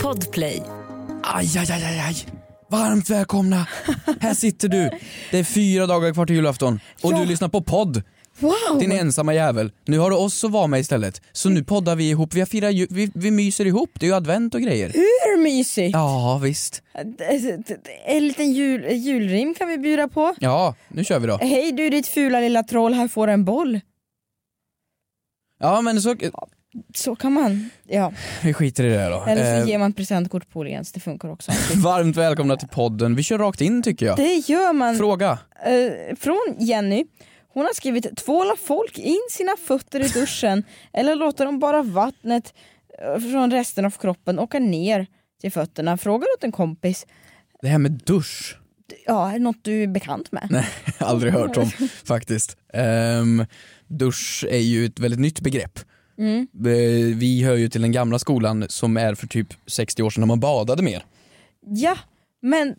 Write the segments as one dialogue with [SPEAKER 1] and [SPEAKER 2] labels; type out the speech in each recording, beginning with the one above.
[SPEAKER 1] Podplay.
[SPEAKER 2] Aj, aj, aj, aj, aj. Varmt välkomna! Här sitter du. Det är fyra dagar kvar till julafton och
[SPEAKER 1] Ja.
[SPEAKER 2] du lyssnar på podd.
[SPEAKER 1] Wow!
[SPEAKER 2] Din ensamma jävel. Nu har du oss att vara med istället. Så nu poddar vi ihop. Vi, firar ju, vi, vi myser ihop. Det är ju advent och grejer.
[SPEAKER 1] Hur mysigt!
[SPEAKER 2] Ja, visst.
[SPEAKER 1] En liten jul, julrim kan vi bjuda på.
[SPEAKER 2] Ja, nu kör vi då.
[SPEAKER 1] Hej du ditt fula lilla troll, här får du en boll.
[SPEAKER 2] Ja, men så...
[SPEAKER 1] Så kan man. Ja.
[SPEAKER 2] Vi skiter i det här då.
[SPEAKER 1] Eller så
[SPEAKER 2] Eh,
[SPEAKER 1] ger man presentkort på Åhléns, det funkar också.
[SPEAKER 2] varmt välkomna till podden. Vi kör rakt in tycker jag.
[SPEAKER 1] Det gör man.
[SPEAKER 2] Fråga.
[SPEAKER 1] Eh, från Jenny. Hon har skrivit tvåla folk in sina fötter i duschen eller låter dem bara vattnet eh, från resten av kroppen åka ner till fötterna. Frågar åt en kompis.
[SPEAKER 2] Det här med dusch.
[SPEAKER 1] Ja, är det något du är bekant med?
[SPEAKER 2] Aldrig hört om faktiskt. Ehm, dusch är ju ett väldigt nytt begrepp.
[SPEAKER 1] Mm.
[SPEAKER 2] Eh, Vi hör ju till den gamla skolan som är för typ 60 år sedan när man badade mer.
[SPEAKER 1] Ja, men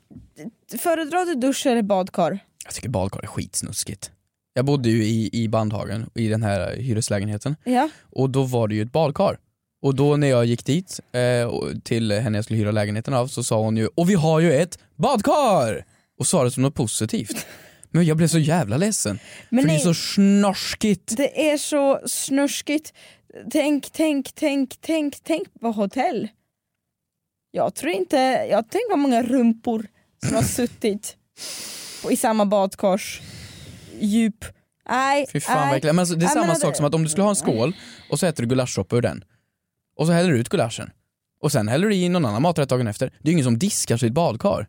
[SPEAKER 1] föredrar du dusch eller badkar?
[SPEAKER 2] Jag tycker badkar är skitsnuskigt. Jag bodde ju i, i Bandhagen, i den här hyreslägenheten,
[SPEAKER 1] Ja.
[SPEAKER 2] och då var det ju ett badkar. Och då när jag gick dit eh, och- till henne jag skulle hyra lägenheten av så sa hon ju “Och vi har ju ett badkar!” och sa det som något positivt. Men jag blev så jävla ledsen,
[SPEAKER 1] Men
[SPEAKER 2] för
[SPEAKER 1] nej,
[SPEAKER 2] det är så snorskigt.
[SPEAKER 1] det är så snurskigt. Tänk, tänk, tänk, tänk, tänk på hotell. Jag tror inte, jag tänker vad många rumpor som har suttit på, i samma badkars djup. Nej,
[SPEAKER 2] Fy fan
[SPEAKER 1] nej.
[SPEAKER 2] verkligen. Men alltså, det är
[SPEAKER 1] Nej, men
[SPEAKER 2] samma
[SPEAKER 1] hade-
[SPEAKER 2] sak som att om du skulle ha en skål och så äter du gulaschsoppa ur den och så häller du ut gulaschen och sen häller du i någon annan maträtt dagen efter. Det är ju ingen som diskar sitt badkar.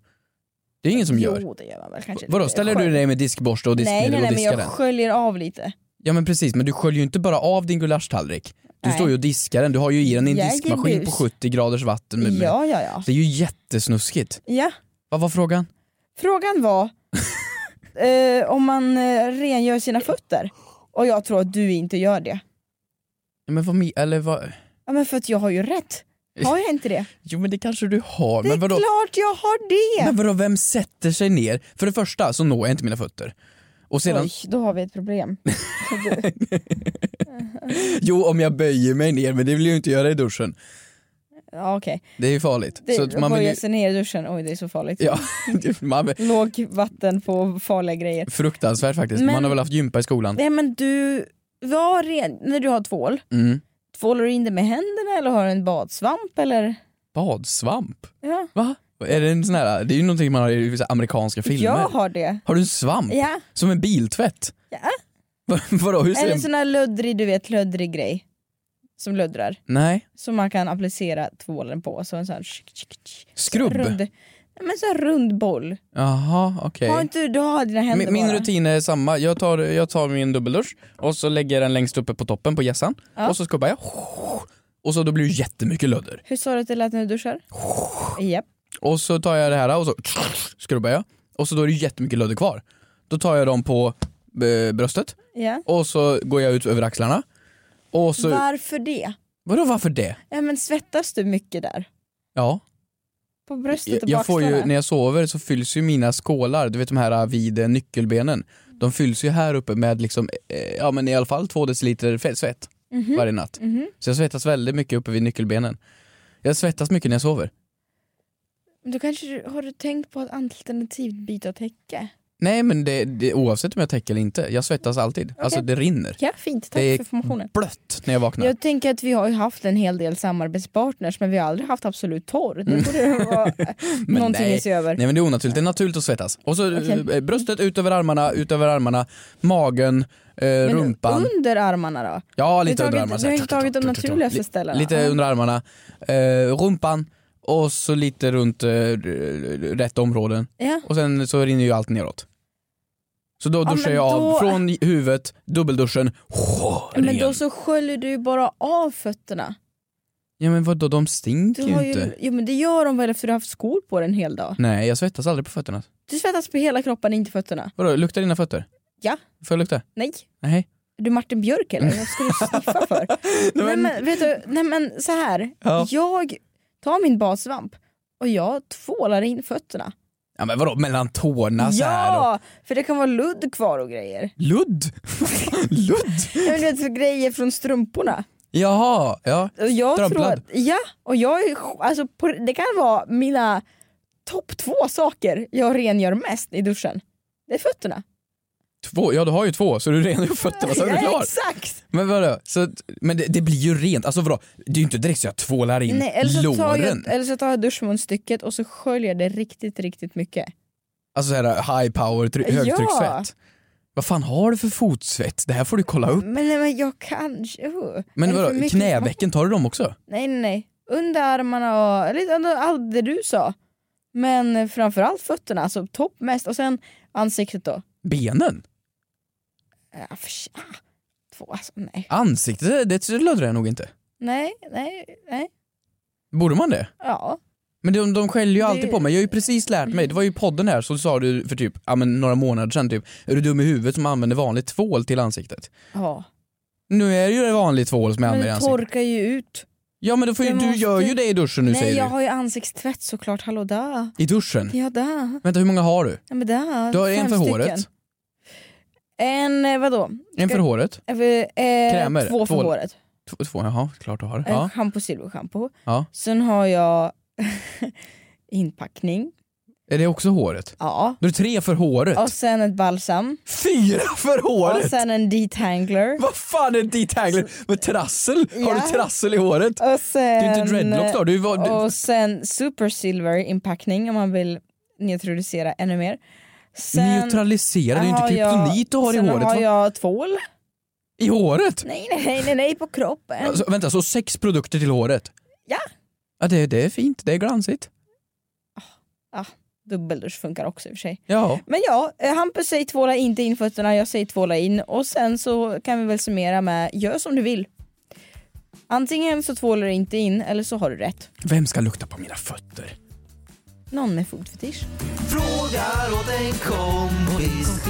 [SPEAKER 2] Det är ingen som gör.
[SPEAKER 1] Jo, det gör man väl kanske.
[SPEAKER 2] Vadå, ställer du dig med diskborste och
[SPEAKER 1] Nej,
[SPEAKER 2] diskmedel
[SPEAKER 1] nej, nej,
[SPEAKER 2] och
[SPEAKER 1] men
[SPEAKER 2] diskar
[SPEAKER 1] jag
[SPEAKER 2] den?
[SPEAKER 1] sköljer av lite.
[SPEAKER 2] Ja men precis, men du sköljer ju inte bara av din gulasch-tallrik. Du
[SPEAKER 1] Nej.
[SPEAKER 2] står ju och diskar den, du har ju i den i en
[SPEAKER 1] Jag är
[SPEAKER 2] diskmaskin på
[SPEAKER 1] bus.
[SPEAKER 2] 70 graders vatten. Med, med.
[SPEAKER 1] Ja, ja, ja.
[SPEAKER 2] Det är ju jättesnuskigt.
[SPEAKER 1] ja.
[SPEAKER 2] Vad var frågan?
[SPEAKER 1] Frågan var eh, om man eh, rengör sina fötter. Och jag tror att du inte gör det.
[SPEAKER 2] Ja, Men vad, mi- eller vad?
[SPEAKER 1] Ja, men för att jag har ju rätt. Har jag inte det?
[SPEAKER 2] Jo men det kanske du har.
[SPEAKER 1] Det är
[SPEAKER 2] men vadå?
[SPEAKER 1] klart jag har det!
[SPEAKER 2] Men vadå, vem sätter sig ner? För det första så når jag inte mina fötter. Och sedan,
[SPEAKER 1] Oj, då har vi ett problem.
[SPEAKER 2] jo om jag böjer mig ner men det vill jag ju inte göra i duschen.
[SPEAKER 1] Ja, okej.
[SPEAKER 2] Det är ju farligt.
[SPEAKER 1] Det-
[SPEAKER 2] så att man vill
[SPEAKER 1] Böja
[SPEAKER 2] ju,
[SPEAKER 1] sig ner i duschen, oj det är så farligt.
[SPEAKER 2] ja, man, vill-
[SPEAKER 1] Låg vatten på farliga grejer.
[SPEAKER 2] fruktansvärt faktiskt.
[SPEAKER 1] Men-
[SPEAKER 2] Man har väl haft gympa i skolan.
[SPEAKER 1] Nej men du, var ren när du har tvål,
[SPEAKER 2] Mm.
[SPEAKER 1] tvålar du in det med händerna eller har du en badsvamp eller?
[SPEAKER 2] Badsvamp?
[SPEAKER 1] Ja,
[SPEAKER 2] Va? Är det en sån här, det är ju någonting man har i så här amerikanska filmer.
[SPEAKER 1] jag har det.
[SPEAKER 2] Har du en svamp?
[SPEAKER 1] Ja.
[SPEAKER 2] Som en biltvätt?
[SPEAKER 1] Ja.
[SPEAKER 2] Va- Vadå, hur ser
[SPEAKER 1] Eller
[SPEAKER 2] en...
[SPEAKER 1] sån här löddrig, du vet löddrig grej. Som löddrar.
[SPEAKER 2] Nej,
[SPEAKER 1] Som man kan applicera tvålen på. Så en sån här tsk, tsk, tsk,
[SPEAKER 2] skrubb?
[SPEAKER 1] rund, Nej, men sån här rund boll.
[SPEAKER 2] Jaha, okej.
[SPEAKER 1] Har inte du, du har dina händer
[SPEAKER 2] Min, min
[SPEAKER 1] bara.
[SPEAKER 2] rutin är samma, jag tar, jag tar min dubbeldusch och så lägger jag den längst uppe på toppen på hjässan
[SPEAKER 1] Ja.
[SPEAKER 2] och så skubbar jag och så då blir det jättemycket lödder.
[SPEAKER 1] Hur sa du att det lät när du duschar? Japp.
[SPEAKER 2] Och så tar jag det här och så skrubbar jag och så då är det jättemycket lödder kvar. Då tar jag dem på eh, bröstet
[SPEAKER 1] Ja.
[SPEAKER 2] och så går jag ut över axlarna. Och så,
[SPEAKER 1] Varför det?
[SPEAKER 2] vadå varför det?
[SPEAKER 1] Ja, men svettas du mycket där?
[SPEAKER 2] Ja,
[SPEAKER 1] På bröstet och
[SPEAKER 2] jag, jag får ju,
[SPEAKER 1] bakstarna?
[SPEAKER 2] när jag sover så fylls ju mina skålar, du vet de här vid eh, nyckelbenen, de fylls ju här uppe med liksom, eh, ja men i alla fall två deciliter fe- svett
[SPEAKER 1] Mhm,
[SPEAKER 2] varje natt.
[SPEAKER 1] mhm.
[SPEAKER 2] Så jag svettas väldigt mycket uppe vid nyckelbenen. Jag svettas mycket när jag sover.
[SPEAKER 1] Då kanske du, har du tänkt på att alternativt byta täcke?
[SPEAKER 2] Nej men det, det, oavsett om jag täcker eller inte, jag svettas alltid. Alltså det rinner.
[SPEAKER 1] Ja, fint. Tack
[SPEAKER 2] Det är-
[SPEAKER 1] för informationen.
[SPEAKER 2] Blött när jag vaknar.
[SPEAKER 1] Jag tänker att vi har ju haft en hel del samarbetspartners men vi har aldrig haft Absolut Torr. Det borde vara
[SPEAKER 2] Men
[SPEAKER 1] någonting
[SPEAKER 2] nej.
[SPEAKER 1] att se över.
[SPEAKER 2] Nej men det är onaturligt, det är naturligt att svettas. Och så eh,
[SPEAKER 1] Okej.
[SPEAKER 2] bröstet ut över armarna, ut över armarna, magen, eh,
[SPEAKER 1] Men
[SPEAKER 2] rumpan.
[SPEAKER 1] under armarna då?
[SPEAKER 2] ja
[SPEAKER 1] Du
[SPEAKER 2] lite
[SPEAKER 1] har
[SPEAKER 2] under
[SPEAKER 1] tagit-
[SPEAKER 2] armarna.
[SPEAKER 1] du
[SPEAKER 2] så här,
[SPEAKER 1] har inte tagit de
[SPEAKER 2] tut, tut, tut,
[SPEAKER 1] naturligaste
[SPEAKER 2] li-
[SPEAKER 1] ställena.
[SPEAKER 2] Lite
[SPEAKER 1] Ja.
[SPEAKER 2] under armarna, eh, rumpan och så lite runt eh, r- r- rätt områden.
[SPEAKER 1] Ja.
[SPEAKER 2] Och sen så rinner ju allt neråt. Så då
[SPEAKER 1] Ja,
[SPEAKER 2] duschar
[SPEAKER 1] men
[SPEAKER 2] jag av
[SPEAKER 1] då-
[SPEAKER 2] från huvudet, dubbelduschen,
[SPEAKER 1] Men
[SPEAKER 2] ren.
[SPEAKER 1] då så sköljer du ju bara av fötterna.
[SPEAKER 2] Ja men vadå, de stinker
[SPEAKER 1] Du
[SPEAKER 2] ju
[SPEAKER 1] har ju,
[SPEAKER 2] inte.
[SPEAKER 1] jo men det gör de väl för du har haft skor på dig en hel dag?
[SPEAKER 2] Nej jag svettas aldrig på fötterna.
[SPEAKER 1] Du svettas på hela kroppen, inte fötterna.
[SPEAKER 2] Vadå, luktar dina fötter?
[SPEAKER 1] Ja.
[SPEAKER 2] Får jag lukta?
[SPEAKER 1] Nej.
[SPEAKER 2] Nej.
[SPEAKER 1] Är du Martin Björk eller? Vad ska du sniffa för? nej, men, vet du, nej men så här.
[SPEAKER 2] Ja.
[SPEAKER 1] Jag tar min badsvamp och jag tvålar in fötterna.
[SPEAKER 2] Ja men alltså, vadå, mellan tårna så här och...
[SPEAKER 1] ja! För det kan vara ludd kvar och grejer.
[SPEAKER 2] Ludd? Ludd?
[SPEAKER 1] Jag vet, grejer från strumporna.
[SPEAKER 2] Jaha, ja.
[SPEAKER 1] Och Jag tror
[SPEAKER 2] Strömplad.
[SPEAKER 1] att, ja, och jag är, alltså, på, det kan vara mina topp två saker jag rengör mest i duschen. Det är fötterna.
[SPEAKER 2] Två, ja du har ju två så du renar ju fötterna så är du
[SPEAKER 1] Ja,
[SPEAKER 2] klar.
[SPEAKER 1] Exakt!
[SPEAKER 2] Men vadå? Så, att- men det, det blir ju rent, alltså vadå? Det är ju inte direkt så jag tvålar in
[SPEAKER 1] Nej, eller, så tar
[SPEAKER 2] låren.
[SPEAKER 1] jag, eller så tar jag duschmunstycket och så sköljer det riktigt, riktigt mycket.
[SPEAKER 2] Alltså såhär high power, try-
[SPEAKER 1] Ja.
[SPEAKER 2] högtryckssvett. Vad fan har du för fotsvett? Det här får du kolla upp.
[SPEAKER 1] Men, nej, men jag kanske... Uh.
[SPEAKER 2] Men
[SPEAKER 1] Är det för
[SPEAKER 2] vadå,
[SPEAKER 1] mycket?
[SPEAKER 2] knävecken, tar du dem också?
[SPEAKER 1] Nej, nej, nej. Underarmarna och lite under allt det du sa. Men framförallt fötterna, alltså topp mest. Och sen ansiktet då.
[SPEAKER 2] Benen?
[SPEAKER 1] Ja, för, ah, två, alltså nej.
[SPEAKER 2] Ansiktet, det- det löddrar jag nog inte.
[SPEAKER 1] Nej, nej, nej.
[SPEAKER 2] Borde man det?
[SPEAKER 1] Ja.
[SPEAKER 2] Men de, de skäller ju
[SPEAKER 1] Det-
[SPEAKER 2] alltid på mig, jag har ju precis lärt mig, det var ju i podden här så sa du för typ, ja men några månader sedan typ, är du dum i huvudet som använder vanlig tvål till ansiktet?
[SPEAKER 1] ja.
[SPEAKER 2] Nu är det ju vanlig tvål som jag
[SPEAKER 1] Men
[SPEAKER 2] använder i
[SPEAKER 1] det
[SPEAKER 2] ansiktet.
[SPEAKER 1] torkar ju ut.
[SPEAKER 2] Ja men då får ju,
[SPEAKER 1] Det
[SPEAKER 2] du gör
[SPEAKER 1] måste-
[SPEAKER 2] ju det i duschen nu
[SPEAKER 1] nej,
[SPEAKER 2] säger
[SPEAKER 1] jag
[SPEAKER 2] du.
[SPEAKER 1] har ju ansiktstvätt såklart. Hallå där.
[SPEAKER 2] I duschen?
[SPEAKER 1] Ja, där.
[SPEAKER 2] Vänta hur många har du?
[SPEAKER 1] Ja, men där.
[SPEAKER 2] Du har en
[SPEAKER 1] Fem
[SPEAKER 2] för håret,
[SPEAKER 1] stycken. En, eh, vadå?
[SPEAKER 2] en för
[SPEAKER 1] Ska-
[SPEAKER 2] håret,
[SPEAKER 1] Eh, eh,
[SPEAKER 2] Krämer,
[SPEAKER 1] Två för
[SPEAKER 2] tvål.
[SPEAKER 1] håret.
[SPEAKER 2] två, två jaha klart du har.
[SPEAKER 1] Eh,
[SPEAKER 2] Ja.
[SPEAKER 1] Shampoo, silverschampo.
[SPEAKER 2] Ja.
[SPEAKER 1] Sen har jag inpackning.
[SPEAKER 2] Är det också håret?
[SPEAKER 1] Ja.
[SPEAKER 2] Du har tre för håret,
[SPEAKER 1] Och sen ett balsam.
[SPEAKER 2] fyra för håret!
[SPEAKER 1] Och sen en detangler.
[SPEAKER 2] Vad fan är detangler? Med trassel? Har
[SPEAKER 1] Ja.
[SPEAKER 2] du trassel i håret? Ehm,
[SPEAKER 1] Och
[SPEAKER 2] Du
[SPEAKER 1] sen,
[SPEAKER 2] är inte dreadlocks då? Du, är vad- du,
[SPEAKER 1] Och sen super silver inpackning om man vill neutralisera ännu mer. Sen
[SPEAKER 2] Neutralisera, det är ju inte
[SPEAKER 1] har jag-
[SPEAKER 2] kryptonit du har i
[SPEAKER 1] sen
[SPEAKER 2] håret.
[SPEAKER 1] har
[SPEAKER 2] va?
[SPEAKER 1] jag tvål.
[SPEAKER 2] I håret?
[SPEAKER 1] Nej, nej, nej, nej, nej på kroppen.
[SPEAKER 2] Alltså, vänta, så sex produkter till håret?
[SPEAKER 1] Ja.
[SPEAKER 2] Ja, det, det är fint, det är glansigt.
[SPEAKER 1] Ah, Dubbeldusch funkar också i och för sig.
[SPEAKER 2] Ja.
[SPEAKER 1] Men ja, eh, Hampus säger tvåla inte in fötterna, jag säger tvåla in. Och sen så kan vi väl summera med, gör som du vill. Antingen så tvålar du inte in, eller så har du rätt.
[SPEAKER 2] Vem ska lukta på mina fötter?
[SPEAKER 1] Någon med fotfetisch.
[SPEAKER 3] Frågar åt en kompis.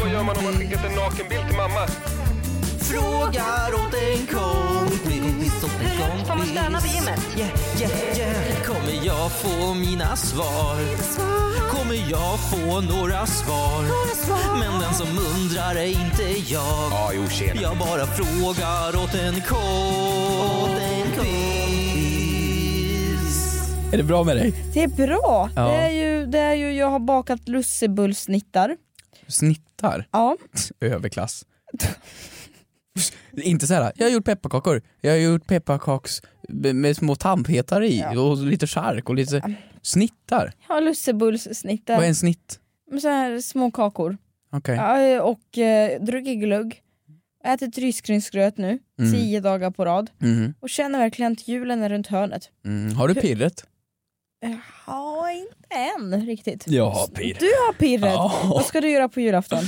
[SPEAKER 4] Vad gör man om man skickat en nakenbild till mamma?
[SPEAKER 3] Frågar åt en kompis. åt en
[SPEAKER 5] Hur högt får man stöna på gymmet?
[SPEAKER 3] Yeah, yeah, yeah. Kommer jag få mina svar? Kommer jag få några svar? Men den som undrar är inte jag.
[SPEAKER 4] Ja, jo tjena.
[SPEAKER 3] Jag bara frågar åt en kompis.
[SPEAKER 2] Är det bra med dig?
[SPEAKER 1] Det är bra!
[SPEAKER 2] Ja.
[SPEAKER 1] Det, är ju, det är ju, jag har bakat lussebullsnittar.
[SPEAKER 2] Snittar?
[SPEAKER 1] Ja.
[SPEAKER 2] Överklass. Inte så här, jag har gjort pepparkakor, jag har gjort pepparkaks med små tandpetare i
[SPEAKER 1] Ja.
[SPEAKER 2] och lite chark och lite snittar.
[SPEAKER 1] Jag har lussebullssnittar.
[SPEAKER 2] Vad är en snitt?
[SPEAKER 1] Med så här små kakor.
[SPEAKER 2] Okej.
[SPEAKER 1] Ja, och eh, druckit glögg. Ätit risgrynsgröt nu,
[SPEAKER 2] Mm.
[SPEAKER 1] tio dagar på rad.
[SPEAKER 2] Mhm.
[SPEAKER 1] Och känner verkligen att julen är runt hörnet. Eh,
[SPEAKER 2] Mm. Har du pirret?
[SPEAKER 1] Ja, inte än riktigt.
[SPEAKER 2] Jag har pirr.
[SPEAKER 1] Du har pirret.
[SPEAKER 2] Ja.
[SPEAKER 1] Vad ska du göra på julafton?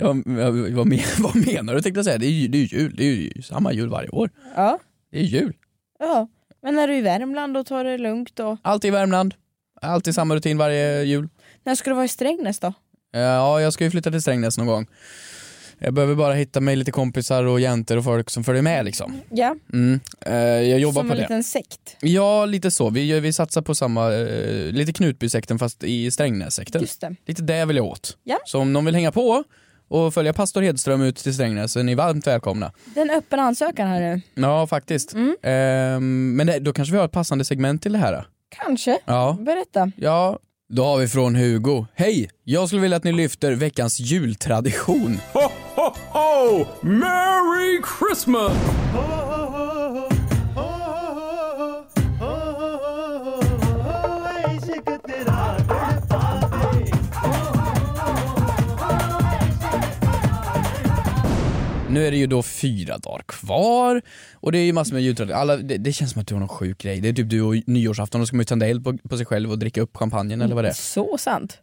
[SPEAKER 2] Ja, men- vad, men, vad menar du tänkte jag säga? Det är ju det är ju jul, det är ju samma jul varje år.
[SPEAKER 1] Ja.
[SPEAKER 2] Det är jul.
[SPEAKER 1] ja. Men när du är i Värmland och tar det lugnt och...
[SPEAKER 2] Alltid i Värmland. Alltid samma rutin varje jul.
[SPEAKER 1] När ska du vara i Strängnäs då?
[SPEAKER 2] Eh, Ja, jag ska ju flytta till Strängnäs någon gång. Jag behöver bara hitta mig lite kompisar och jäntor och folk som följer med liksom.
[SPEAKER 1] Ja,
[SPEAKER 2] Mm. Eh, Jag jobbar
[SPEAKER 1] som
[SPEAKER 2] på
[SPEAKER 1] en
[SPEAKER 2] det.
[SPEAKER 1] liten sekt.
[SPEAKER 2] Ja, lite så. Vi, gör- vi satsar på samma, eh, lite Knutbysekten fast i Strängnässekten.
[SPEAKER 1] Just det.
[SPEAKER 2] Lite det vill jag åt.
[SPEAKER 1] Ja.
[SPEAKER 2] Så om någon vill hänga på och följa pastor Hedström ut till Strängnäs så är ni varmt välkomna.
[SPEAKER 1] Det är en öppen ansökan här nu.
[SPEAKER 2] Ja, faktiskt.
[SPEAKER 1] Mm.
[SPEAKER 2] Ehm, men det, då kanske vi har ett passande segment till det här. då.
[SPEAKER 1] Kanske.
[SPEAKER 2] Ja.
[SPEAKER 1] Berätta.
[SPEAKER 2] ja, då har vi från Hugo. Hej! Jag skulle vilja att ni lyfter veckans jultradition.
[SPEAKER 6] Ho, ho, ho! Merry Christmas!
[SPEAKER 2] Nu är det ju då fyra dagar kvar och det är ju massor med jultraditioner. Alla, det, det känns som att du har någon sjuk grej. Det är typ du och nyårsafton, då ska man ju tända eld på, på sig själv och dricka upp champagnen eller vad det är.
[SPEAKER 1] Så sant.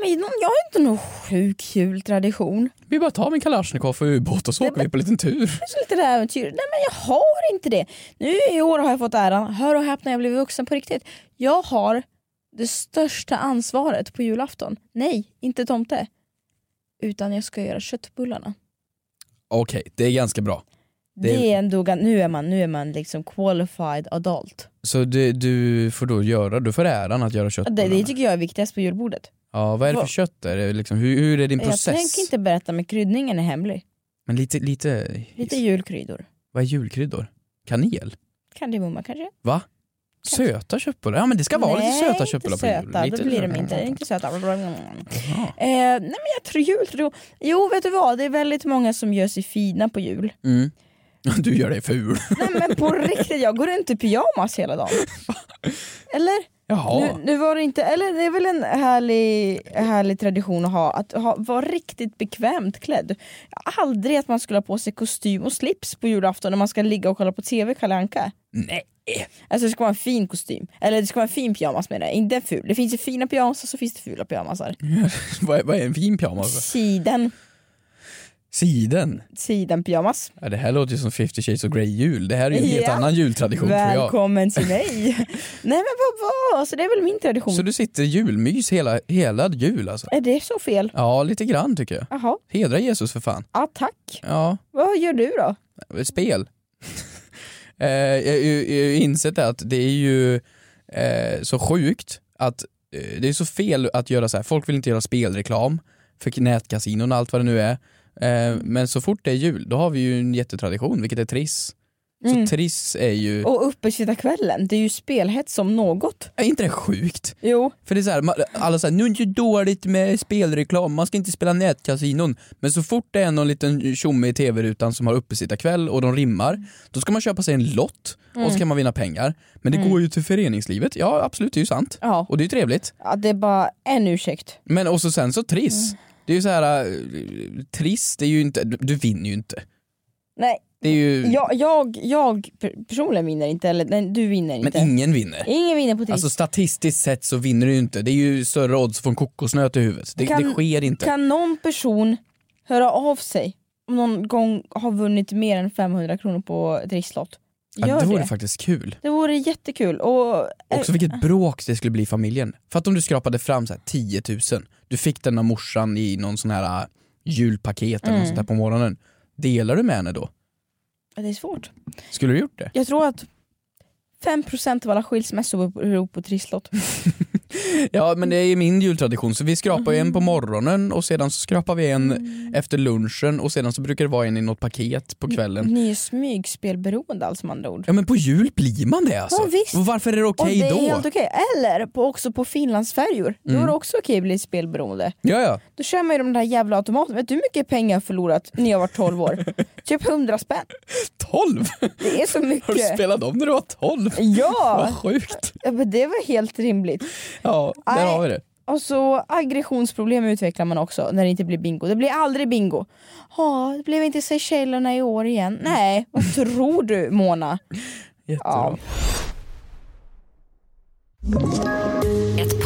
[SPEAKER 1] Men någon- jag har inte någon sjuk jultradition.
[SPEAKER 2] Vi bara tar min Kalashnikov och ubåt och så åker vi på en liten tur.
[SPEAKER 1] Kanske lite äventyr. Nej men jag har inte det. Nu i år har jag fått äran, hör och häpna jag blev vuxen på riktigt. Jag har det största ansvaret på julafton. Nej, inte tomte. Utan jag ska göra köttbullarna.
[SPEAKER 2] Okej, det är ganska bra.
[SPEAKER 1] Det,
[SPEAKER 2] Det-
[SPEAKER 1] är ändå, gan- nu är man, nu är man liksom qualified adult.
[SPEAKER 2] Så du, du får då göra, du får äran att göra
[SPEAKER 1] Ja, Det, det
[SPEAKER 2] köttbullarna.
[SPEAKER 1] tycker jag är viktigast på julbordet.
[SPEAKER 2] Ja, vad är det för
[SPEAKER 1] Vad-
[SPEAKER 2] kött? Är det liksom, hur, hur är din
[SPEAKER 1] Jag
[SPEAKER 2] process?
[SPEAKER 1] tänker inte berätta men kryddningen är hemlig.
[SPEAKER 2] Men lite, lite...
[SPEAKER 1] Lite julkryddor.
[SPEAKER 2] Vad är julkryddor? Kanel?
[SPEAKER 1] Kardemumma kanske?
[SPEAKER 2] Va? Söta köttbullar? Ja men det ska vara lite
[SPEAKER 1] Nej,
[SPEAKER 2] söta
[SPEAKER 1] inte
[SPEAKER 2] köttbullar på
[SPEAKER 1] söta.
[SPEAKER 2] jul.
[SPEAKER 1] Då blir de inte, inte söta.
[SPEAKER 2] Jaha.
[SPEAKER 1] Eh, nej men jag tror jultro... Jo vet du vad, det är väldigt många som gör sig fina på jul.
[SPEAKER 2] Mm. Du gör dig ful.
[SPEAKER 1] Nej men på riktigt, jag går runt i pyjamas hela dagen. Eller?
[SPEAKER 2] Jaha.
[SPEAKER 1] Nu, nu var det inte, eller det är väl en härlig, härlig tradition att ha, att ha, vara riktigt bekvämt klädd. Aldrig att man skulle ha på sig kostym och slips på julafton när man ska ligga och kolla på TV Kalle Anka.
[SPEAKER 2] Nej.
[SPEAKER 1] Alltså det ska vara en fin kostym, eller det ska vara en fin pyjamas med det, inte en ful. Det finns ju fina pyjamasar så finns det fula pyjamasar.
[SPEAKER 2] vad, är, vad är en fin pyjamas?
[SPEAKER 1] Siden,
[SPEAKER 2] Siden.
[SPEAKER 1] siden pyjamas.
[SPEAKER 2] Ja, det här låter ju som 50 shades of Grey jul. Det här är ju en helt
[SPEAKER 1] Ja.
[SPEAKER 2] annan jultradition tror
[SPEAKER 1] Välkommen till mig! Nej men vad vad, så det är väl min tradition.
[SPEAKER 2] jag. Så du sitter i julmys hela, hela jul alltså?
[SPEAKER 1] Är det så fel?
[SPEAKER 2] Ja, lite grann tycker jag.
[SPEAKER 1] Jaha,
[SPEAKER 2] Hedra Jesus för fan.
[SPEAKER 1] ja tack.
[SPEAKER 2] Ja,
[SPEAKER 1] Vad gör du då?
[SPEAKER 2] spel. eh, jag har ju- jag har ju insett det att det är ju eh, så sjukt att eh, det är så fel att göra så här. folk vill inte göra spelreklam för nätkasinon och allt vad det nu är. Eh, men så fort det är jul, då har vi ju en jättetradition, vilket är Triss. Så
[SPEAKER 1] Mm.
[SPEAKER 2] Triss är ju,
[SPEAKER 1] Och uppesittarkvällen, det är ju spelhets som något.
[SPEAKER 2] är inte det sjukt?
[SPEAKER 1] Jo.
[SPEAKER 2] För det är så här, man, alla säger nu är det ju dåligt med spelreklam, man ska inte spela nätkasinon. Men så fort det är någon liten tjomme i tv-rutan som har uppesittarkväll och de rimmar, då ska man köpa sig en lott och
[SPEAKER 1] Mm.
[SPEAKER 2] så kan man vinna pengar. Men det går ju till föreningslivet, ja absolut det är ju sant.
[SPEAKER 1] Ja.
[SPEAKER 2] Och det är ju trevligt.
[SPEAKER 1] Ja, det är bara en ursäkt.
[SPEAKER 2] Men och så sen så Triss,
[SPEAKER 1] Mm.
[SPEAKER 2] det är ju så här, eh, Triss det är ju inte, du, du vinner ju inte.
[SPEAKER 1] Nej,
[SPEAKER 2] Det är ju,
[SPEAKER 1] jag, jag, jag per- personligen vinner inte, eller nej, du vinner
[SPEAKER 2] men
[SPEAKER 1] inte.
[SPEAKER 2] ingen vinner.
[SPEAKER 1] Ingen vinner på triss.
[SPEAKER 2] Alltså statistiskt sett så vinner du ju inte, det är ju större odds från kokosnöt i huvudet. Det,
[SPEAKER 1] Kan-
[SPEAKER 2] det sker inte.
[SPEAKER 1] kan någon person höra av sig om någon gång har vunnit mer än 500 kronor på trisslott? Gör
[SPEAKER 2] ja, det
[SPEAKER 1] det.
[SPEAKER 2] vore
[SPEAKER 1] det.
[SPEAKER 2] faktiskt kul.
[SPEAKER 1] vore jättekul. Och, eh,
[SPEAKER 2] Också vilket bråk det skulle bli i familjen. För att om du skrapade fram så här 10 000, du fick den av morsan i någon sån här äh, julpaket eller något sånt där på morgonen. Delar du med henne då?
[SPEAKER 1] eh, det är svårt.
[SPEAKER 2] Skulle du gjort det?
[SPEAKER 1] Jag tror att 5% av alla skilsmässor beror på trisslott.
[SPEAKER 2] Ja men det är ju min jultradition så vi skrapar ju en på morgonen och sedan så skrapar vi en efter lunchen och sedan så brukar det vara en i något paket på kvällen.
[SPEAKER 1] Ni är smygspelberoende alltså med andra ord.
[SPEAKER 2] Ja men på jul blir man det alltså.
[SPEAKER 1] Ja, visst.
[SPEAKER 2] Och varför är det okej
[SPEAKER 1] och det är
[SPEAKER 2] då? Mm.
[SPEAKER 1] helt okej. Eller på, också på Finlandsfärjor. Då är det också okej att bli spelberoende.
[SPEAKER 2] Ja ja.
[SPEAKER 1] Då kör man ju de där jävla automaterna. Vet du hur mycket pengar jag har förlorat när jag var 12 år? typ 100 spänn.
[SPEAKER 2] 12!
[SPEAKER 1] Det är så
[SPEAKER 2] Har du
[SPEAKER 1] mycket.
[SPEAKER 2] spelat om när du var 12?
[SPEAKER 1] Ja,
[SPEAKER 2] Vad sjukt.
[SPEAKER 1] ja, men det var helt rimligt.
[SPEAKER 2] Ja, där
[SPEAKER 1] Nej.
[SPEAKER 2] har vi det.
[SPEAKER 1] Och så aggressionsproblem utvecklar man också när det inte blir bingo. Det blir aldrig bingo. Ja, det blev inte Seychellerna i år igen. Nej, vad tror du Mona?
[SPEAKER 2] Jättebra.
[SPEAKER 1] Ja.
[SPEAKER 5] Ett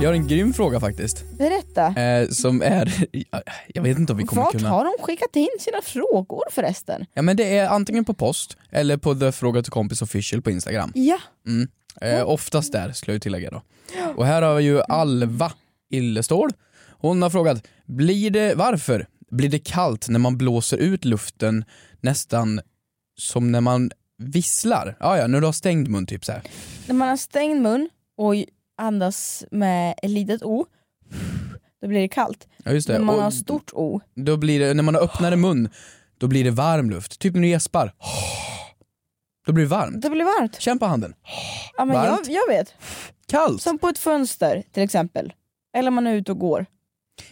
[SPEAKER 2] Jag har en grym fråga faktiskt.
[SPEAKER 1] Berätta.
[SPEAKER 2] Eh, som är, jag vet inte om vi kommer
[SPEAKER 1] Vart
[SPEAKER 2] kunna...
[SPEAKER 1] har de skickat in sina frågor förresten?
[SPEAKER 2] Ja men det är antingen på post eller på The Fråga till kompis official på Instagram.
[SPEAKER 1] Ja.
[SPEAKER 2] Eh,
[SPEAKER 1] Mm.
[SPEAKER 2] oftast där, skulle jag ju tillägga då. Och här har vi ju Alva Illestål. Hon har frågat, blir det, varför blir det kallt när man blåser ut luften nästan som när man visslar? Ja, ja, när du har stängd mun typ så här.
[SPEAKER 1] När man har stängd mun och andas med ett litet O, då blir det kallt.
[SPEAKER 2] Ja, just det.
[SPEAKER 1] När man
[SPEAKER 2] Och
[SPEAKER 1] har stort O,
[SPEAKER 2] då blir det, när man har öppnare mun, då blir det varm luft. Typ när du gäspar. Då blir det varmt.
[SPEAKER 1] då blir det varmt.
[SPEAKER 2] Känn på handen.
[SPEAKER 1] Ja, men jag,
[SPEAKER 2] Varmt.
[SPEAKER 1] jag vet.
[SPEAKER 2] Kallt!
[SPEAKER 1] Som på ett fönster till exempel. Eller man är ute och går,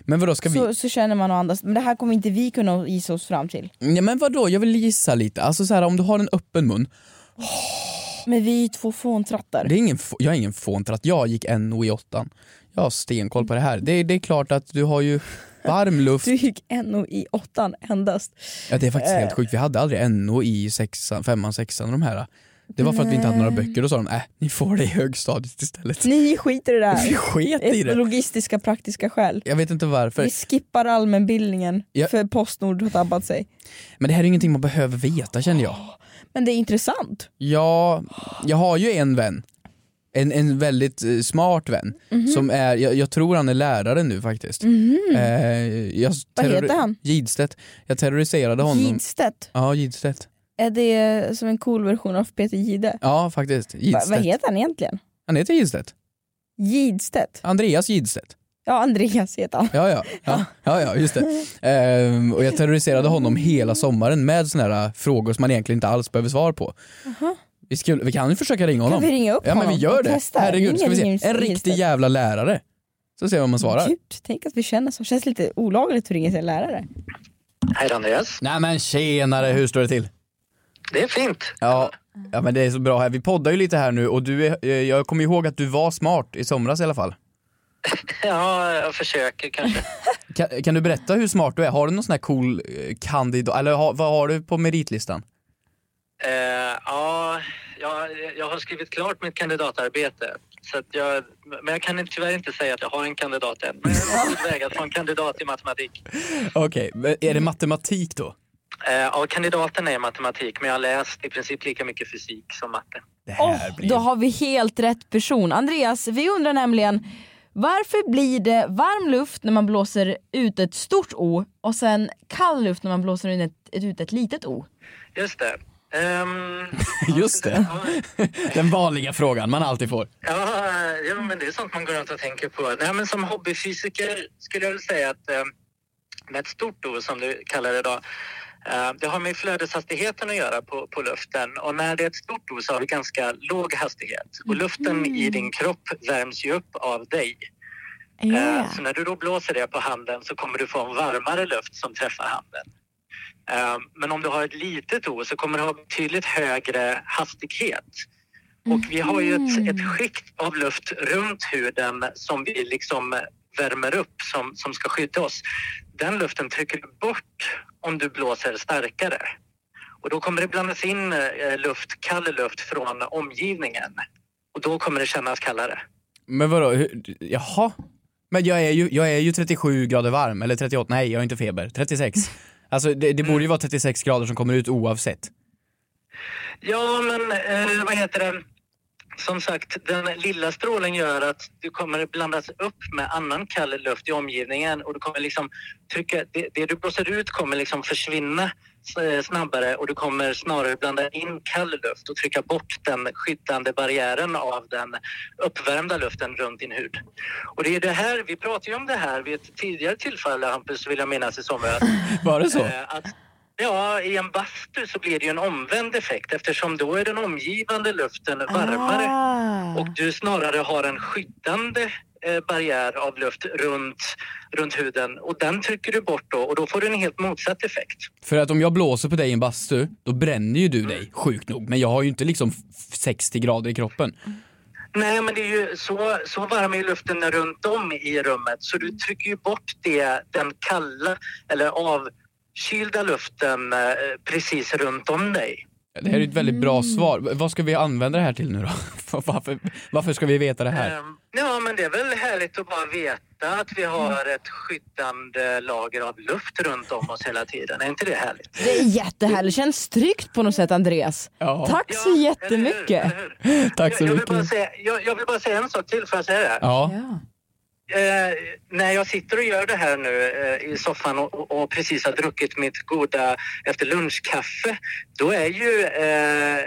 [SPEAKER 2] Men vadå, ska vi...
[SPEAKER 1] så, så känner man och andas. Men det här kommer inte vi kunna gissa oss fram till.
[SPEAKER 2] Ja, men vadå, jag vill gissa lite. Alltså så här, om du har en öppen mun,
[SPEAKER 1] Men vi är ju två fåntrattar.
[SPEAKER 2] Det är ingen, f- jag är ingen fåntratt, jag gick NO i åttan. Jag har stenkoll på det här. Det, det är klart att du har ju varm luft.
[SPEAKER 1] Du gick NO i åttan endast. Äh.
[SPEAKER 2] Ja, det är faktiskt helt sjukt, vi hade aldrig NO i sexan, femman, sexan och de här. Det var för att vi inte hade några böcker, då sa de äh, ni får det i högstadiet istället.
[SPEAKER 1] Ni skiter i det
[SPEAKER 2] Vi
[SPEAKER 1] här.
[SPEAKER 2] sket i
[SPEAKER 1] Ett
[SPEAKER 2] det.
[SPEAKER 1] logistiska praktiska skäl.
[SPEAKER 2] Jag vet inte varför.
[SPEAKER 1] Vi skippar allmänbildningen
[SPEAKER 2] Ja.
[SPEAKER 1] för Postnord har tabbat sig.
[SPEAKER 2] Men det här är ingenting man behöver veta känner jag.
[SPEAKER 1] Men det är intressant.
[SPEAKER 2] Ja, jag har ju en vän. En, en väldigt eh, smart vän.
[SPEAKER 1] Mhm.
[SPEAKER 2] Som är, jag, jag tror han är lärare nu faktiskt. Eh, jag
[SPEAKER 1] Vad heter
[SPEAKER 2] terrori-
[SPEAKER 1] han?
[SPEAKER 2] Gidstedt. Jag terroriserade honom.
[SPEAKER 1] Gidstedt,
[SPEAKER 2] Ja, Gidstedt.
[SPEAKER 1] är det som en cool version av Peter Gide?
[SPEAKER 2] Ja, faktiskt.
[SPEAKER 1] Va,
[SPEAKER 2] Gidstedt.
[SPEAKER 1] vad heter han egentligen?
[SPEAKER 2] han heter Gidstedt.
[SPEAKER 1] Gidstedt?
[SPEAKER 2] Andreas Gidstedt.
[SPEAKER 1] Ja, Andreas heter han.
[SPEAKER 2] Ja, ja. Ja, ja, ja just det. Ehm, och jag terroriserade honom hela sommaren med såna här eh, frågor som man egentligen inte alls behöver svar på. Vi, skulle, vi kan ju försöka ringa honom.
[SPEAKER 1] Kan vi ringa upp
[SPEAKER 2] ja,
[SPEAKER 1] honom?
[SPEAKER 2] men vi gör
[SPEAKER 1] och
[SPEAKER 2] det.
[SPEAKER 1] testa?
[SPEAKER 2] Herregud, ska vi
[SPEAKER 1] Ingen
[SPEAKER 2] se. En
[SPEAKER 1] ring-
[SPEAKER 2] riktig
[SPEAKER 1] Gidstedt.
[SPEAKER 2] jävla lärare. Så ser vi om man svarar.
[SPEAKER 1] Gud, tänk att vi känner så. Känns lite olagligt att ringa sin lärare.
[SPEAKER 7] Hej Andreas.
[SPEAKER 2] Nej men tjenare, hur står det till?
[SPEAKER 7] Det är fint.
[SPEAKER 2] Ja, ja men det är så bra här. Vi poddar ju lite här nu och du är, eh, jag kommer ihåg att du var smart i somras i alla fall.
[SPEAKER 7] Ja, jag försöker kanske.
[SPEAKER 2] Kan, kan du berätta hur smart du är? Har du någon sån här cool eh, kandidat, eller har, vad har du på meritlistan?
[SPEAKER 7] eh, ja, jag, jag har skrivit klart mitt kandidatarbete. Så att jag, men jag kan inte- tyvärr inte säga att jag har en kandidat än. Men jag är på väg att få en kandidat i matematik.
[SPEAKER 2] Okej, men är det matematik då?
[SPEAKER 7] Eh, ja, kandidaten är i matematik, men jag har läst i princip lika mycket fysik som matte.
[SPEAKER 2] Det här
[SPEAKER 1] Åh,
[SPEAKER 2] blir...
[SPEAKER 1] Då har vi helt rätt person. Andreas, vi undrar nämligen varför blir det varm luft när man blåser ut ett stort O och sen kall luft när man blåser ut ett, ut ett litet O?
[SPEAKER 7] Just det. Ehm,
[SPEAKER 2] Just det. Den vanliga frågan man alltid får.
[SPEAKER 7] Ja, ja, men det är sånt man går runt och tänker på. Nej, men som hobbyfysiker skulle jag väl säga att eh, med ett stort O som du kallar det idag, eh, det har med flödeshastigheten att göra på, på luften. Och när det är ett stort O så har vi ganska låg hastighet. Och luften i din kropp värms ju upp av dig. Eh, Så när du då blåser det på handen så kommer du få en varmare luft som träffar handen. Eh, Men om du har ett litet O så kommer du ha betydligt högre hastighet. Och vi har ju ett, ett skikt av luft runt huden som vi liksom värmer upp som, som ska skydda oss. Den luften trycker du bort om du blåser starkare. Och då kommer det blandas in eh, luft, kall luft från omgivningen. Och då kommer det kännas kallare.
[SPEAKER 2] Men vadå, hur... jaha? Men jag är, ju, jag är ju 37 grader varm, eller 38, nej jag har inte feber, 36. Alltså det, det borde ju vara 36 grader som kommer ut oavsett.
[SPEAKER 7] Ja, men eh, vad heter det? Som sagt, den lilla strålen gör att du kommer blandas upp med annan kall luft i omgivningen och du kommer liksom trycka, det, det du blåser ut kommer liksom försvinna eh, snabbare och du kommer snarare blanda in kall luft och trycka bort den skyddande barriären av den uppvärmda luften runt din hud. Och det är det här, vi pratade ju om det här vid ett tidigare tillfälle, Hampus, vill jag minnas i somras.
[SPEAKER 2] Var det så?
[SPEAKER 7] Eh, Att, ja, i en bastu så blir det ju en omvänd effekt eftersom då är den omgivande luften varmare
[SPEAKER 1] Ah.
[SPEAKER 7] och du snarare har en skyddande eh, barriär av luft runt, runt huden och den trycker du bort då och då får du en helt motsatt effekt.
[SPEAKER 2] För att om jag blåser på dig i en bastu, då bränner ju du dig, sjukt nog. Men jag har ju inte liksom f- 60 grader i kroppen.
[SPEAKER 7] Nej, men det är ju så, så varm är ju luften runt om i rummet så du trycker ju bort det, den kalla eller avkylda luften eh, precis runt om dig.
[SPEAKER 2] Det här är ju ett väldigt
[SPEAKER 7] Mm.
[SPEAKER 2] bra svar. V- Vad ska vi använda det här till nu då? Varför, varför ska vi veta det här?
[SPEAKER 7] Ehm, Ja, men det är väl härligt att bara veta att vi har
[SPEAKER 2] Mm.
[SPEAKER 7] ett skyddande lager av luft runt om oss hela tiden. Är inte det härligt?
[SPEAKER 1] Det är jättehärligt, känns tryggt på något sätt Andreas.
[SPEAKER 2] Ja.
[SPEAKER 1] Tack så
[SPEAKER 7] Ja,
[SPEAKER 1] jättemycket.
[SPEAKER 7] eller hur? Eller hur?
[SPEAKER 2] Tack så
[SPEAKER 7] jag, jag
[SPEAKER 2] mycket.
[SPEAKER 7] Vill bara säga, jag, jag vill bara säga en sak till, för jag säga det?
[SPEAKER 2] Ja.
[SPEAKER 1] Ja.
[SPEAKER 7] Eh, när jag sitter och gör det här nu eh, i soffan och, och- och precis har druckit mitt goda efter lunchkaffe, då är ju eh,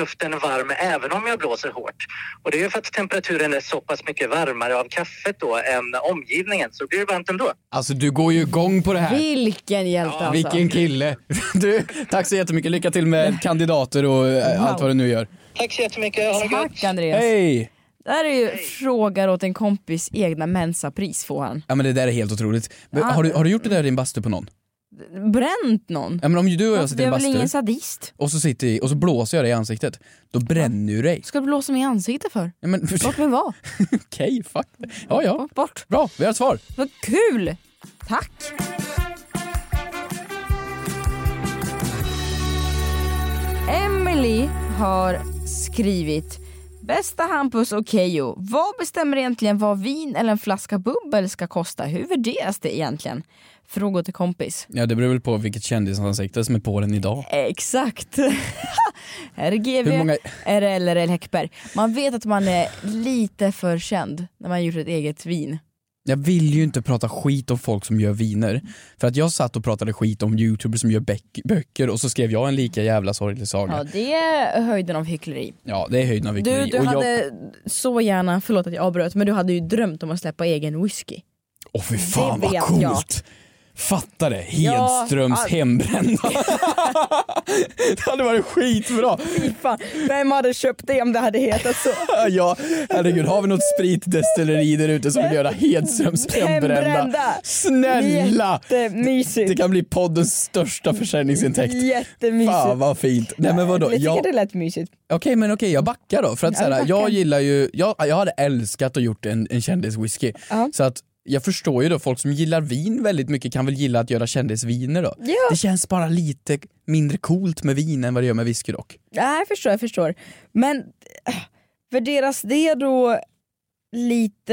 [SPEAKER 7] luften varm även om jag blåser hårt. Och det är ju för att temperaturen är så pass mycket varmare av kaffet då än omgivningen, så det blir det varmt ändå.
[SPEAKER 2] Alltså du går ju igång på det här.
[SPEAKER 1] Vilken hjälte alltså.
[SPEAKER 2] Vilken kille! Du, tack så jättemycket. Lycka till med kandidater och eh, allt vad du nu gör.
[SPEAKER 7] Tack så jättemycket. Ha det gott.
[SPEAKER 1] Tack Andreas.
[SPEAKER 2] Hej!
[SPEAKER 1] Det här är ju frågar åt en kompis egna mensapris får han.
[SPEAKER 2] Ja men det där är helt otroligt. Men Har du, har du gjort det där i din bastu på någon?
[SPEAKER 1] Bränt någon?
[SPEAKER 2] Ja men om du och jag
[SPEAKER 1] Alltså,
[SPEAKER 2] sitter
[SPEAKER 1] det
[SPEAKER 2] i
[SPEAKER 1] är
[SPEAKER 2] en
[SPEAKER 1] väl ingen
[SPEAKER 2] bastu
[SPEAKER 1] sadist?
[SPEAKER 2] och så, sitter, i- och så blåser jag dig i ansiktet, då bränner du dig.
[SPEAKER 1] Ska du blåsa mig i ansiktet för?
[SPEAKER 2] Ja, men
[SPEAKER 1] Bort med vad?
[SPEAKER 2] okej, fuck det. Ja ja,
[SPEAKER 1] Bort, bort.
[SPEAKER 2] bra, vi har ett svar.
[SPEAKER 1] Vad kul! Tack! Emily har skrivit Bästa Hampus och Keyyo, vad bestämmer egentligen vad vin eller en flaska bubbel ska kosta? Hur värderas det egentligen? Frågor till kompis.
[SPEAKER 2] Ja det beror väl på vilket kändisansikte som är på den idag.
[SPEAKER 1] Exakt. Här är GV,
[SPEAKER 2] Hur många-
[SPEAKER 1] är det LRL Häckberg. Man vet att man är lite för känd när man gjort ett eget vin.
[SPEAKER 2] Jag vill ju inte prata skit om folk som gör viner. För att jag satt och pratade skit om youtubers som gör bäck- böcker och så skrev jag en lika jävla sorglig saga.
[SPEAKER 1] Ja,
[SPEAKER 2] Ja,
[SPEAKER 1] det är höjden av hyckleri.
[SPEAKER 2] det är höjden av
[SPEAKER 8] Du,
[SPEAKER 2] hyckleri.
[SPEAKER 8] du
[SPEAKER 2] Och jag-
[SPEAKER 8] hade så gärna, förlåt att jag avbröt, men du hade ju drömt om att släppa egen whisky.
[SPEAKER 2] Åh fy fan
[SPEAKER 8] Det
[SPEAKER 2] vad
[SPEAKER 8] vet
[SPEAKER 2] coolt!
[SPEAKER 8] jag.
[SPEAKER 2] Fatta det, Hedströms
[SPEAKER 8] all-
[SPEAKER 2] hembrända. det hade varit skitbra.
[SPEAKER 1] Fan, vem hade köpt det om det hade hetat så?
[SPEAKER 2] Ja, herregud, har vi något spritdestilleri där ute som vill göra Hedströms hembrända?
[SPEAKER 1] Hembrända.
[SPEAKER 2] Snälla! Det
[SPEAKER 1] Jättemysigt.
[SPEAKER 2] kan bli poddens största försäljningsintäkt.
[SPEAKER 1] Jättemysigt.
[SPEAKER 2] Fan vad fint. Nej men vadå? Jag,
[SPEAKER 1] Jag tycker det
[SPEAKER 2] okej
[SPEAKER 1] lät mysigt.
[SPEAKER 2] men okej jag backar då. För att
[SPEAKER 1] Ja,
[SPEAKER 2] såhär,
[SPEAKER 1] backa.
[SPEAKER 2] jag gillar ju, jag, jag hade älskat att gjort en, en kändiswhisky.
[SPEAKER 1] Ja.
[SPEAKER 2] Så att jag förstår ju då folk som gillar vin väldigt mycket kan väl gilla att göra kändisviner då.
[SPEAKER 1] Ja.
[SPEAKER 2] Det känns bara lite mindre coolt med vin än vad det gör med whisky dock.
[SPEAKER 1] Ja, jag förstår, jag förstår. Men äh, värderas det då lite...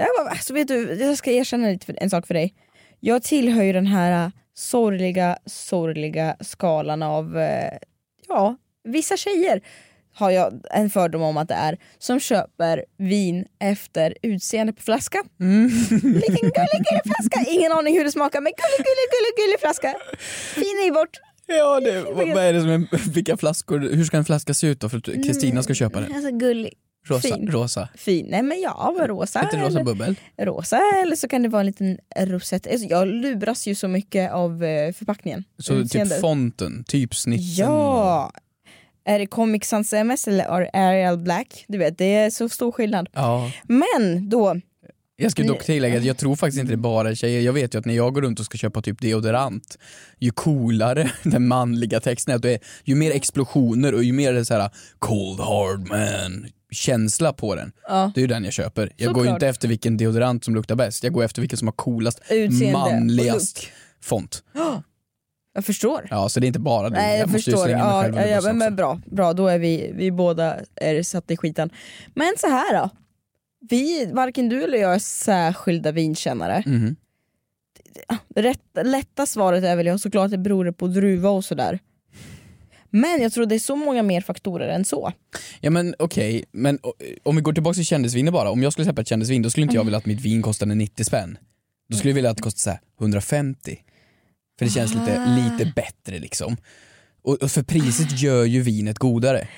[SPEAKER 1] Ja, men Alltså vet du, jag ska erkänna lite för, en sak för dig. Jag tillhör ju den här äh, sorgliga, sorgliga skalan av, eh, ja, vissa tjejer har jag en fördom om att det är, som köper vin efter utseende på flaska. Vilken gullig, gullig flaska! Ingen aning hur det smakar men gullig, gullig, gullig, gullig flaska. Fin i bort.
[SPEAKER 2] Ja, det, vad, vad är det som är, vilka flaskor, hur ska en flaska se ut då för att Kristina ska köpa den?
[SPEAKER 1] Alltså gullig.
[SPEAKER 2] Rosa,
[SPEAKER 1] Mm. fin.
[SPEAKER 2] rosa.
[SPEAKER 1] fin. Nej men ja, men rosa.
[SPEAKER 2] Lite rosa bubbel.
[SPEAKER 1] eller, rosa eller så kan det vara en liten rosett. Alltså, jag luras ju så mycket av eh, förpackningen.
[SPEAKER 2] Så
[SPEAKER 1] Utseende.
[SPEAKER 2] typ fonten, typsnitsen.
[SPEAKER 1] Ja! Är det Comic Sans MS eller är det Arial Black? Du vet, det är så stor skillnad.
[SPEAKER 2] ja.
[SPEAKER 1] Men då,
[SPEAKER 2] Jag ska dock tillägga att jag tror faktiskt inte det är bara tjejer. Jag vet ju att när jag går runt och ska köpa typ deodorant, ju coolare den manliga texten är, att det är ju mer explosioner och ju mer det är så här cold hard man känsla på den.
[SPEAKER 1] Ja.
[SPEAKER 2] Det är ju den jag köper. Jag
[SPEAKER 1] Såklart.
[SPEAKER 2] går ju inte efter vilken deodorant som luktar bäst, jag går efter vilken som har coolast,
[SPEAKER 1] Utseende och
[SPEAKER 2] manligast
[SPEAKER 1] look.
[SPEAKER 2] font.
[SPEAKER 1] jag förstår.
[SPEAKER 2] Ja, så det är inte bara det.
[SPEAKER 1] Nej jag
[SPEAKER 2] måste ju
[SPEAKER 1] förstår.
[SPEAKER 2] slänga mig
[SPEAKER 1] Ja,
[SPEAKER 2] själv
[SPEAKER 1] ja,
[SPEAKER 2] under
[SPEAKER 1] ja,
[SPEAKER 2] bussen
[SPEAKER 1] men, men
[SPEAKER 2] också.
[SPEAKER 1] bra, bra, då är vi, vi båda är satt i skiten. Men så här då. Vi, varken du eller jag är särskilda vinkännare.
[SPEAKER 2] Mhm.
[SPEAKER 1] Rätt, lätta svaret är väl jag såklart att det beror på druva och sådär. Men jag tror det är så många mer faktorer än så.
[SPEAKER 2] Ja men okej, men o- om vi går tillbaka till kändisviner bara. Om jag skulle släppa ett kändisvin då skulle inte jag vilja att mitt vin kostade 90 spänn. Då skulle jag vilja att det kostade så här 150. För det känns lite, lite bättre liksom. Och, och för priset gör ju vinet godare.